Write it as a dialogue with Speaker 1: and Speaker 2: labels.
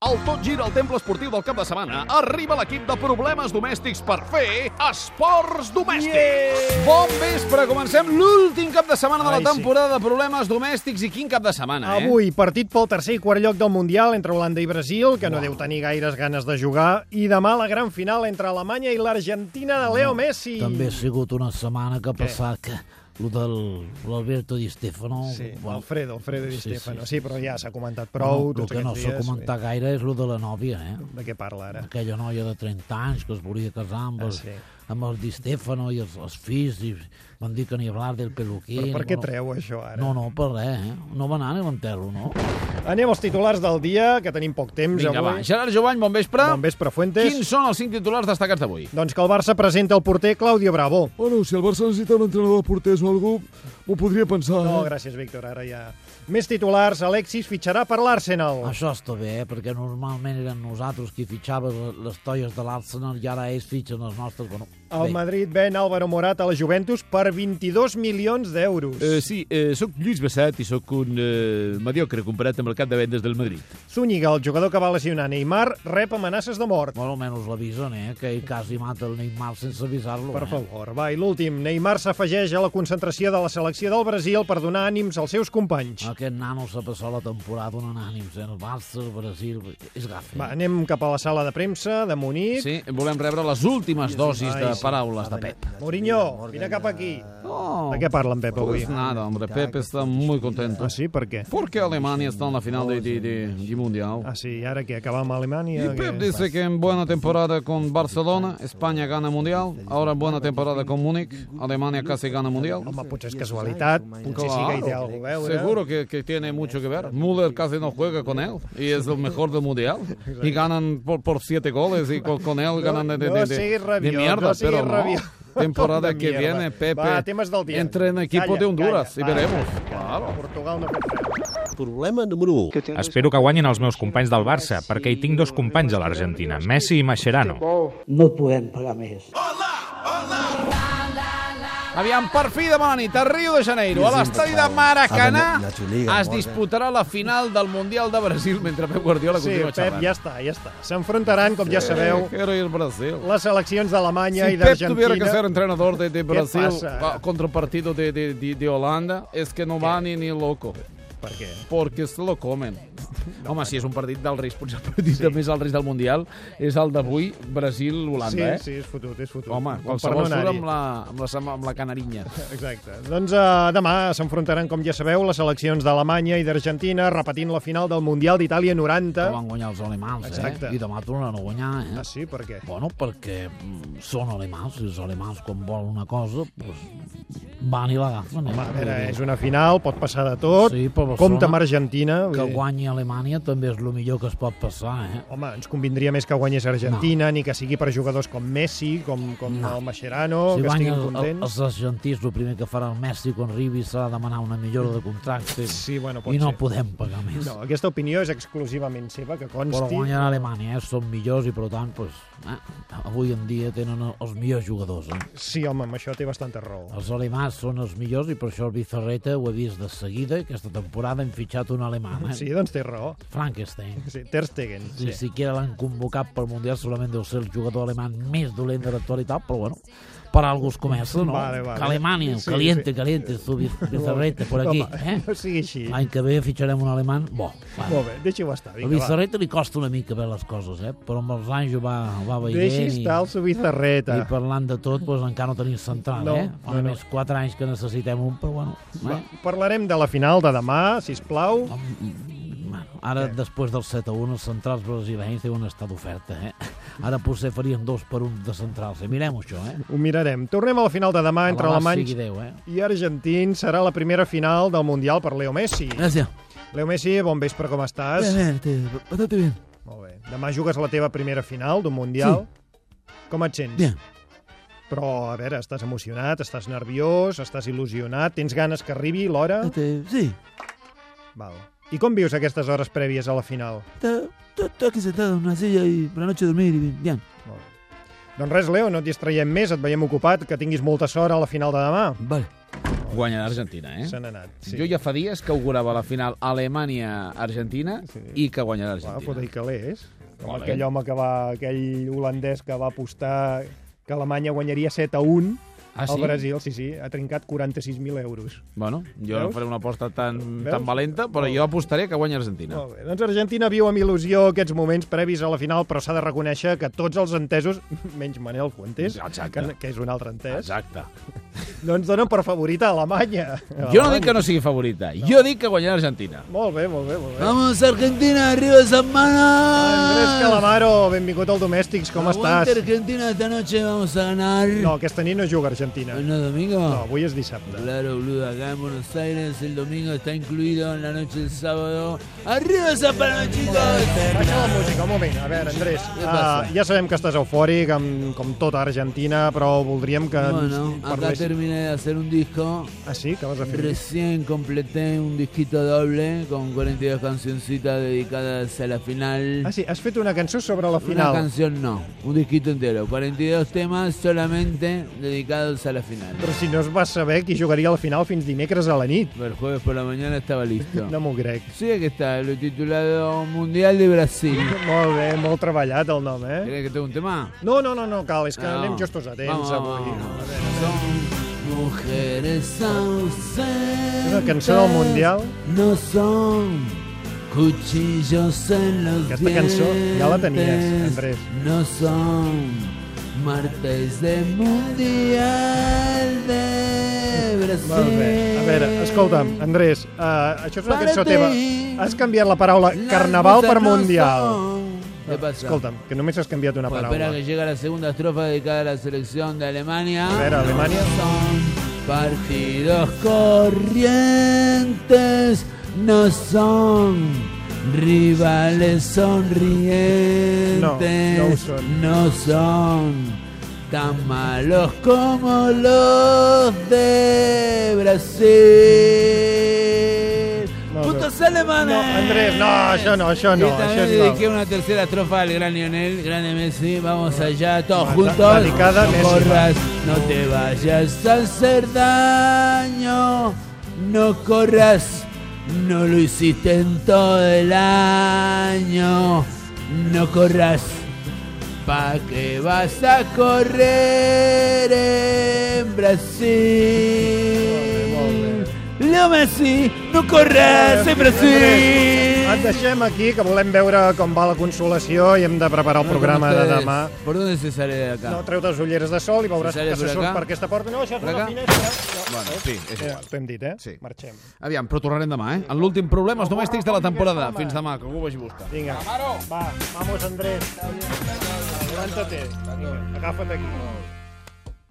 Speaker 1: Al Tot Gira al Temple Esportiu del cap de setmana arriba l'equip de problemes domèstics per fer esports domèstics. Yeah!
Speaker 2: Bon vespre, comencem l'últim cap de setmana de la
Speaker 3: Ai, sí.
Speaker 2: temporada de problemes domèstics i quin cap de setmana, eh?
Speaker 3: Avui, partit pel tercer i quart lloc del Mundial entre Holanda i Brasil, que no deu tenir gaires ganes de jugar, i demà la gran final entre Alemanya i l'Argentina de Leo Messi.
Speaker 4: També ha sigut una setmana que ha passat que lo del l'Alberto Di Stefano...
Speaker 3: Sí,
Speaker 4: bueno,
Speaker 3: Alfredo, Alfredo Di
Speaker 4: Sí, sí,
Speaker 3: Stefano.
Speaker 4: sí.
Speaker 3: Sí, però ja s'ha comentat
Speaker 4: bueno,
Speaker 3: prou
Speaker 4: el
Speaker 3: tots
Speaker 4: que no
Speaker 3: aquests
Speaker 4: s'ha
Speaker 3: dies.
Speaker 4: comentat gaire és lo de la nòvia, eh?
Speaker 3: De què parla ara?
Speaker 4: Aquella noia de 30 anys que es volia casar amb,
Speaker 3: Ah,
Speaker 4: el,
Speaker 3: sí.
Speaker 4: amb el Di Stefano i els, els fills i van dir que ni hablar del peluquín...
Speaker 3: Però per què
Speaker 4: bueno,
Speaker 3: treu això ara? Oh.
Speaker 4: No, no, per res, eh? No va anar a l'enterro, no?
Speaker 3: Anem als titulars del dia, que tenim poc temps
Speaker 2: Vinga, va.
Speaker 3: avui.
Speaker 2: Gerard Jovany, bon vespre.
Speaker 3: Bon vespre, Fuentes.
Speaker 2: Quins són els cinc titulars destacats d'avui?
Speaker 3: Doncs que el Barça presenta el porter Claudio Bravo.
Speaker 5: Bueno, si el Barça necessita un entrenador de porters o algú, m'ho podria pensar.
Speaker 3: No,
Speaker 5: eh?
Speaker 3: Oh, gràcies, Víctor, ara ja... Més titulars, Alexis fitxarà per l'Arsenal.
Speaker 4: Això està bé, eh? perquè normalment eren nosaltres qui fitxaves les toies de l'Arsenal i ara ells fitxen les nostres... Bueno,
Speaker 3: El
Speaker 4: bé,
Speaker 3: Madrid ven Álvaro Morata a la Juventus per 22 milions d'euros.
Speaker 6: Eh, sí, eh, sóc Lluís Bassat i sóc un eh, mediocre comparat amb el cap de vendes del Madrid.
Speaker 3: Zúñiga, el jugador que va lesionar Neymar, rep amenaces de mort.
Speaker 4: Molt almenys l'avisen, eh? Que ell quasi mata el Neymar sense avisar-lo.
Speaker 3: Per
Speaker 4: eh?
Speaker 3: favor, va, i l'últim. Neymar s'afegeix a la concentració de la selecció del Brasil per donar ànims als seus
Speaker 2: Ah.
Speaker 3: companys.
Speaker 4: Aquest nano s'ha passat la temporada donant ànims, eh? El Barça, el Brasil... És gafe.
Speaker 3: Va, anem cap a la sala de premsa de Munic.
Speaker 2: Sí, volem rebre les últimes dosis de
Speaker 3: Ai, sí.
Speaker 2: paraules de Pep.
Speaker 3: Mourinho, vine cap aquí.
Speaker 2: Oh,
Speaker 3: De què parla en Pep avui?
Speaker 2: pues nada, hombre, Pep está muy contento.
Speaker 3: Ah, sí? Per què?
Speaker 2: Porque Alemania está en la final de, de, de, de Mundial.
Speaker 3: Ah, sí, i ara què? Acabar amb Alemanya?
Speaker 2: Y Pep
Speaker 3: què?
Speaker 2: dice que en buena temporada con Barcelona, España gana Mundial. Ahora en buena temporada con Múnich, Alemania casi gana Mundial.
Speaker 3: Home, potser és casualitat, potser sí que hi té alguna cosa a veure.
Speaker 2: Seguro que, que tiene mucho que ver. Müller casi no juega con él y es el mejor del mundial. Y ganan por, por siete goles y con, con él ganan de, de,
Speaker 3: no
Speaker 2: de-
Speaker 3: siguis
Speaker 2: de
Speaker 3: rabiós,
Speaker 2: mierda.
Speaker 3: no siguis
Speaker 2: pero no.
Speaker 3: rabiós.
Speaker 2: Temporada
Speaker 3: De
Speaker 2: que
Speaker 3: mierda.
Speaker 2: viene, Pepe.
Speaker 3: Va, temes del dia.
Speaker 2: Entra en equipo
Speaker 3: Calla,
Speaker 2: de Honduras
Speaker 3: calla,
Speaker 2: y
Speaker 3: va,
Speaker 2: veremos.
Speaker 3: calla, calla.
Speaker 2: Claro.
Speaker 3: Portugal no pot fer.
Speaker 7: Problema número um. 1.
Speaker 8: Espero que guanyin els meus companys del Barça, perquè hi tinc dos companys a l'Argentina, Messi i Mascherano.
Speaker 9: No podem pagar més.
Speaker 2: Aviam, per fi de bona nit, a Rio de Janeiro, a l'estadi de Maracanà, es disputarà la final del Mundial de Brasil mentre Pep Guardiola
Speaker 3: Sí,
Speaker 2: continua
Speaker 3: Pep,
Speaker 2: xerrant.
Speaker 3: ja està, ja està. S'enfrontaran, com ja sabeu,
Speaker 2: Eh, Quiero ir al Brasil.
Speaker 3: les seleccions d'Alemanya
Speaker 2: Si
Speaker 3: i
Speaker 2: Pep tuviera que
Speaker 3: d'Argentina.
Speaker 2: ser entrenador de, de Brasil
Speaker 3: pasa?
Speaker 2: pa- contra el partido de, de, de, de Holanda, es que no va ni, ni loco,
Speaker 3: Per què?
Speaker 2: porque se lo comen. Home, si és un partit del risc, potser el partit sí. més al risc del Mundial és el d'avui,
Speaker 3: Sí,
Speaker 2: Brasil-Holanda, eh?
Speaker 3: sí, és fotut, és fotut.
Speaker 2: Home,
Speaker 3: Com per no
Speaker 2: qualsevol surt
Speaker 3: anar-hi.
Speaker 2: amb la, amb, la, sama- amb la canarinha.
Speaker 3: Exacte. Doncs uh, demà s'enfrontaran, com ja sabeu, les seleccions d'Alemanya i d'Argentina repetint la final del Mundial d'Itàlia 90.
Speaker 4: Que van guanyar els alemans,
Speaker 3: Exacte.
Speaker 4: eh? I demà tornen a guanyar, eh?
Speaker 3: Ah, sí? Per què?
Speaker 4: Bueno, perquè mm, són alemans, i els alemans quan volen una cosa, pues, van i l'agafen. Eh?
Speaker 3: Home, a veure, és una final, pot passar de tot.
Speaker 4: Sí, però Barcelona-
Speaker 3: Compte amb Argentina. vull
Speaker 4: Que
Speaker 3: dir-
Speaker 4: guanyi Alemanya també és el millor que es pot passar, eh?
Speaker 3: Home, ens convindria més que guanyés Argentina, ni que sigui per jugadors com Messi, com, com
Speaker 4: No.
Speaker 3: el Mascherano, que
Speaker 4: guanya
Speaker 3: estiguin
Speaker 4: el- el-
Speaker 3: contents.
Speaker 4: els argentins, el primer que farà el Messi quan arribi serà demanar una millora de contracte.
Speaker 3: Sí, bueno, pot
Speaker 4: I no
Speaker 3: ser.
Speaker 4: podem pagar més.
Speaker 3: No, aquesta opinió és exclusivament seva, que consti...
Speaker 4: Però guanyen a Alemanya, eh? són millors i per tant, pues, eh? avui en dia tenen els millors jugadors. Eh?
Speaker 3: Sí, home, amb això té bastanta raó.
Speaker 4: Els alemans són els millors i per això el Biferreta ho ha vist de seguida i aquesta temporada hem fitxat un alemany. Eh?
Speaker 3: Sí, doncs té raó.
Speaker 4: Frankenstein.
Speaker 3: Sí, Ter Stegen.
Speaker 4: Ni
Speaker 3: Sí.
Speaker 4: siquiera l'han convocat pel Mundial, segurament deu ser el jugador alemany més dolent de l'actualitat, però bueno, per algo es comença, no?
Speaker 3: Vale, vale.
Speaker 4: Que Alemanya,
Speaker 3: Sí,
Speaker 4: caliente,
Speaker 3: sí.
Speaker 4: caliente, su Bizarreta, por aquí,
Speaker 3: Home,
Speaker 4: eh?
Speaker 3: no sigui així.
Speaker 4: L'any que ve fitxarem un alemany, bo, vale.
Speaker 3: Molt bé, deixi-ho estar.
Speaker 4: El
Speaker 3: Vinga, va.
Speaker 4: Bizarreta li costa una mica bé les coses, eh? Però amb els anys ho va, ho va veient
Speaker 3: Deixi
Speaker 4: i,
Speaker 3: estar el Subizarreta.
Speaker 4: i parlant de tot, doncs, encara no tenim central,
Speaker 3: No,
Speaker 4: eh?
Speaker 3: no,
Speaker 4: Fa
Speaker 3: no.
Speaker 4: més 4 anys que necessitem un, però bueno...
Speaker 3: Va,
Speaker 4: Eh?
Speaker 3: parlarem de la final de demà, si plau.
Speaker 4: Bueno, ara, després del 7 a 1, els centrals brasileños deuen estar d'oferta, eh? Ara potser farien dos per un de centrals. Eh? Mirem això, eh?
Speaker 3: Ho mirarem. Tornem a la final de demà entre
Speaker 4: Alabà
Speaker 3: alemanys
Speaker 4: Sigui Déu, eh?
Speaker 3: i argentins. Serà la primera final del Mundial per Leo Messi.
Speaker 4: Gràcies.
Speaker 3: Leo Messi, bon vespre, com estàs?
Speaker 4: Bé, bé, bastante bien.
Speaker 3: Molt bé. Demà jugues la teva primera final d'un Mundial. Com et sents?
Speaker 4: Bien.
Speaker 3: Però, a veure, estàs emocionat, estàs nerviós, estàs il·lusionat, tens ganes que arribi l'hora?
Speaker 4: Este, sí,
Speaker 3: Val. I com vius aquestes hores prèvies a la final?
Speaker 4: está, está, está aquí sentado en una silla y por la noche dormir y bien.
Speaker 3: Molt bé. Doncs res, Leo, no et distraiem més, et veiem ocupat, que tinguis molta sort a la final de demà.
Speaker 4: Vale.
Speaker 3: Molt
Speaker 2: guanyarà Argentina, eh?
Speaker 3: Se n'ha anat.
Speaker 2: Sí. Jo ja fa dies que augurava la final Alemanya-Argentina sí. i que guanyarà
Speaker 3: Clar,
Speaker 2: Argentina.
Speaker 3: fot i calés. Com
Speaker 2: eh? Molt bé.
Speaker 3: aquell home que va, aquell holandès que va apostar que Alemanya guanyaria 7 a 1
Speaker 2: Ah,
Speaker 3: al
Speaker 2: sí?
Speaker 3: Brasil, sí, sí, ha trincat 46.000 euros.
Speaker 2: Bueno, jo no
Speaker 3: Veus?
Speaker 2: faré una aposta tan,
Speaker 3: Veus?
Speaker 2: tan valenta, però jo apostaré que guanya Argentina.
Speaker 3: Molt bé. Doncs Argentina viu amb il·lusió aquests moments previs a la final, però s'ha de reconèixer que tots els entesos, menys Manel Fuentes,
Speaker 2: Exacte.
Speaker 3: que, que és un altre entès,
Speaker 2: Exacte.
Speaker 3: doncs donen per favorita a Alemanya.
Speaker 2: Jo no dic que no sigui favorita, jo dic que guanyarà Argentina.
Speaker 3: Molt bé, molt bé, molt bé.
Speaker 5: Vamos, Argentina, arriba
Speaker 3: Andrés
Speaker 5: semana.
Speaker 3: Calamaro, benvingut al Domèstics, com
Speaker 5: Aguante,
Speaker 3: estàs?
Speaker 5: Argentina, esta noche vamos a ganar.
Speaker 3: No, aquesta nit no juga Argentina.
Speaker 5: ¿No es domingo?
Speaker 3: No, avui és dissabte.
Speaker 5: Claro, boludo, acá en Buenos Aires el domingo está incluido en la noche del sábado. ¡Arriba esa palma, chicos!
Speaker 3: Baixa la música, un moment. A veure, Andrés, uh, ja sabem que estàs eufòric, amb, com tota Argentina, però voldríem que
Speaker 5: Bueno,
Speaker 3: ens
Speaker 5: acá
Speaker 3: parlessis...
Speaker 5: terminé de hacer un disco.
Speaker 3: Ah, sí? Què vas a fer?
Speaker 5: Recién completé un disquito doble con 42 cancioncitas dedicadas a la final.
Speaker 3: Ah, sí, has fet una cançó sobre la
Speaker 5: Una
Speaker 3: final.
Speaker 5: canción no, un disquito entero. 42 temas solamente dedicados a la final.
Speaker 3: Però si no es va saber qui jugaria a la final fins dimecres a la nit.
Speaker 5: El jueves por la mañana estaba listo.
Speaker 3: No m'ho crec.
Speaker 5: Sí, aquí está, lo he titulado Mundial de Brasil.
Speaker 3: Molt bé, molt treballat el nom, eh?
Speaker 5: ¿Crees que tengo un tema?
Speaker 3: No, no, no, no cal, és que
Speaker 5: No.
Speaker 3: anem justos a temps
Speaker 5: Vamos,
Speaker 3: avui.
Speaker 5: vamos.
Speaker 3: A veure,
Speaker 5: Son mujeres ausentes.
Speaker 3: Una cançó del Mundial.
Speaker 5: No son cuchillos en los
Speaker 3: Aquesta cançó ja la tenies,
Speaker 5: dientes.
Speaker 3: Andrés.
Speaker 5: No son martes de Mundial de Brasil.
Speaker 3: Molt bé. A veure, escolta'm, Andrés, uh, això és una cançó teva. Has canviat la paraula
Speaker 5: Las
Speaker 3: carnaval per
Speaker 5: cosas no
Speaker 3: mundial.
Speaker 5: son. ¿Qué pasa?
Speaker 3: Escolta'm, que només has canviat una
Speaker 5: Pues espera que
Speaker 3: paraula.
Speaker 5: llega la segunda estrofa dedicada a la selección de Alemania.
Speaker 3: A ver, Alemania.
Speaker 5: Son partidos corrientes, no son rivales sonrientes.
Speaker 3: No, no son.
Speaker 5: No son tan malos como los de Brasil.
Speaker 3: No,
Speaker 5: ¡Putos
Speaker 3: no.
Speaker 5: alemanes!
Speaker 3: No, Andrés, no, això no, això no,
Speaker 5: Y también
Speaker 3: això és
Speaker 5: dediqué
Speaker 3: nou.
Speaker 5: una tercera estrofa al gran Lionel, grande Messi, vamos allá, todos
Speaker 3: Va,
Speaker 5: juntos.
Speaker 3: dedicada a
Speaker 5: no
Speaker 3: Messi,
Speaker 5: corras, no te vayas a hacer daño, no corras, no lo hiciste en todo el año, no corras, pa que vas a correr en Brasil. Leo Messi, no corras en Brasil.
Speaker 3: Eh, Et deixem aquí, que volem veure com va la consolació i hem de preparar el programa de
Speaker 5: ustedes.
Speaker 3: demà.
Speaker 5: ¿Por dónde se sale de acá?
Speaker 3: No, treu les ulleres de sol i veuràs
Speaker 5: Si sale
Speaker 3: que se
Speaker 5: per
Speaker 3: surt
Speaker 5: acá?
Speaker 3: per aquesta porta. No, això és
Speaker 2: Per
Speaker 3: una
Speaker 2: acá?
Speaker 3: finestra.
Speaker 2: Bueno, en fi, és
Speaker 3: Ja,
Speaker 2: igual.
Speaker 3: T'ho hem dit, eh?
Speaker 2: Sí.
Speaker 3: Marxem.
Speaker 2: Aviam, però tornarem demà, eh? En l'últim Problemes Domèstics de la temporada. Fins demà, que algú ho vagi a buscar.
Speaker 3: Vinga. Va, vamos, Andrés. Levántate. Vinga, Agafa't d'aquí.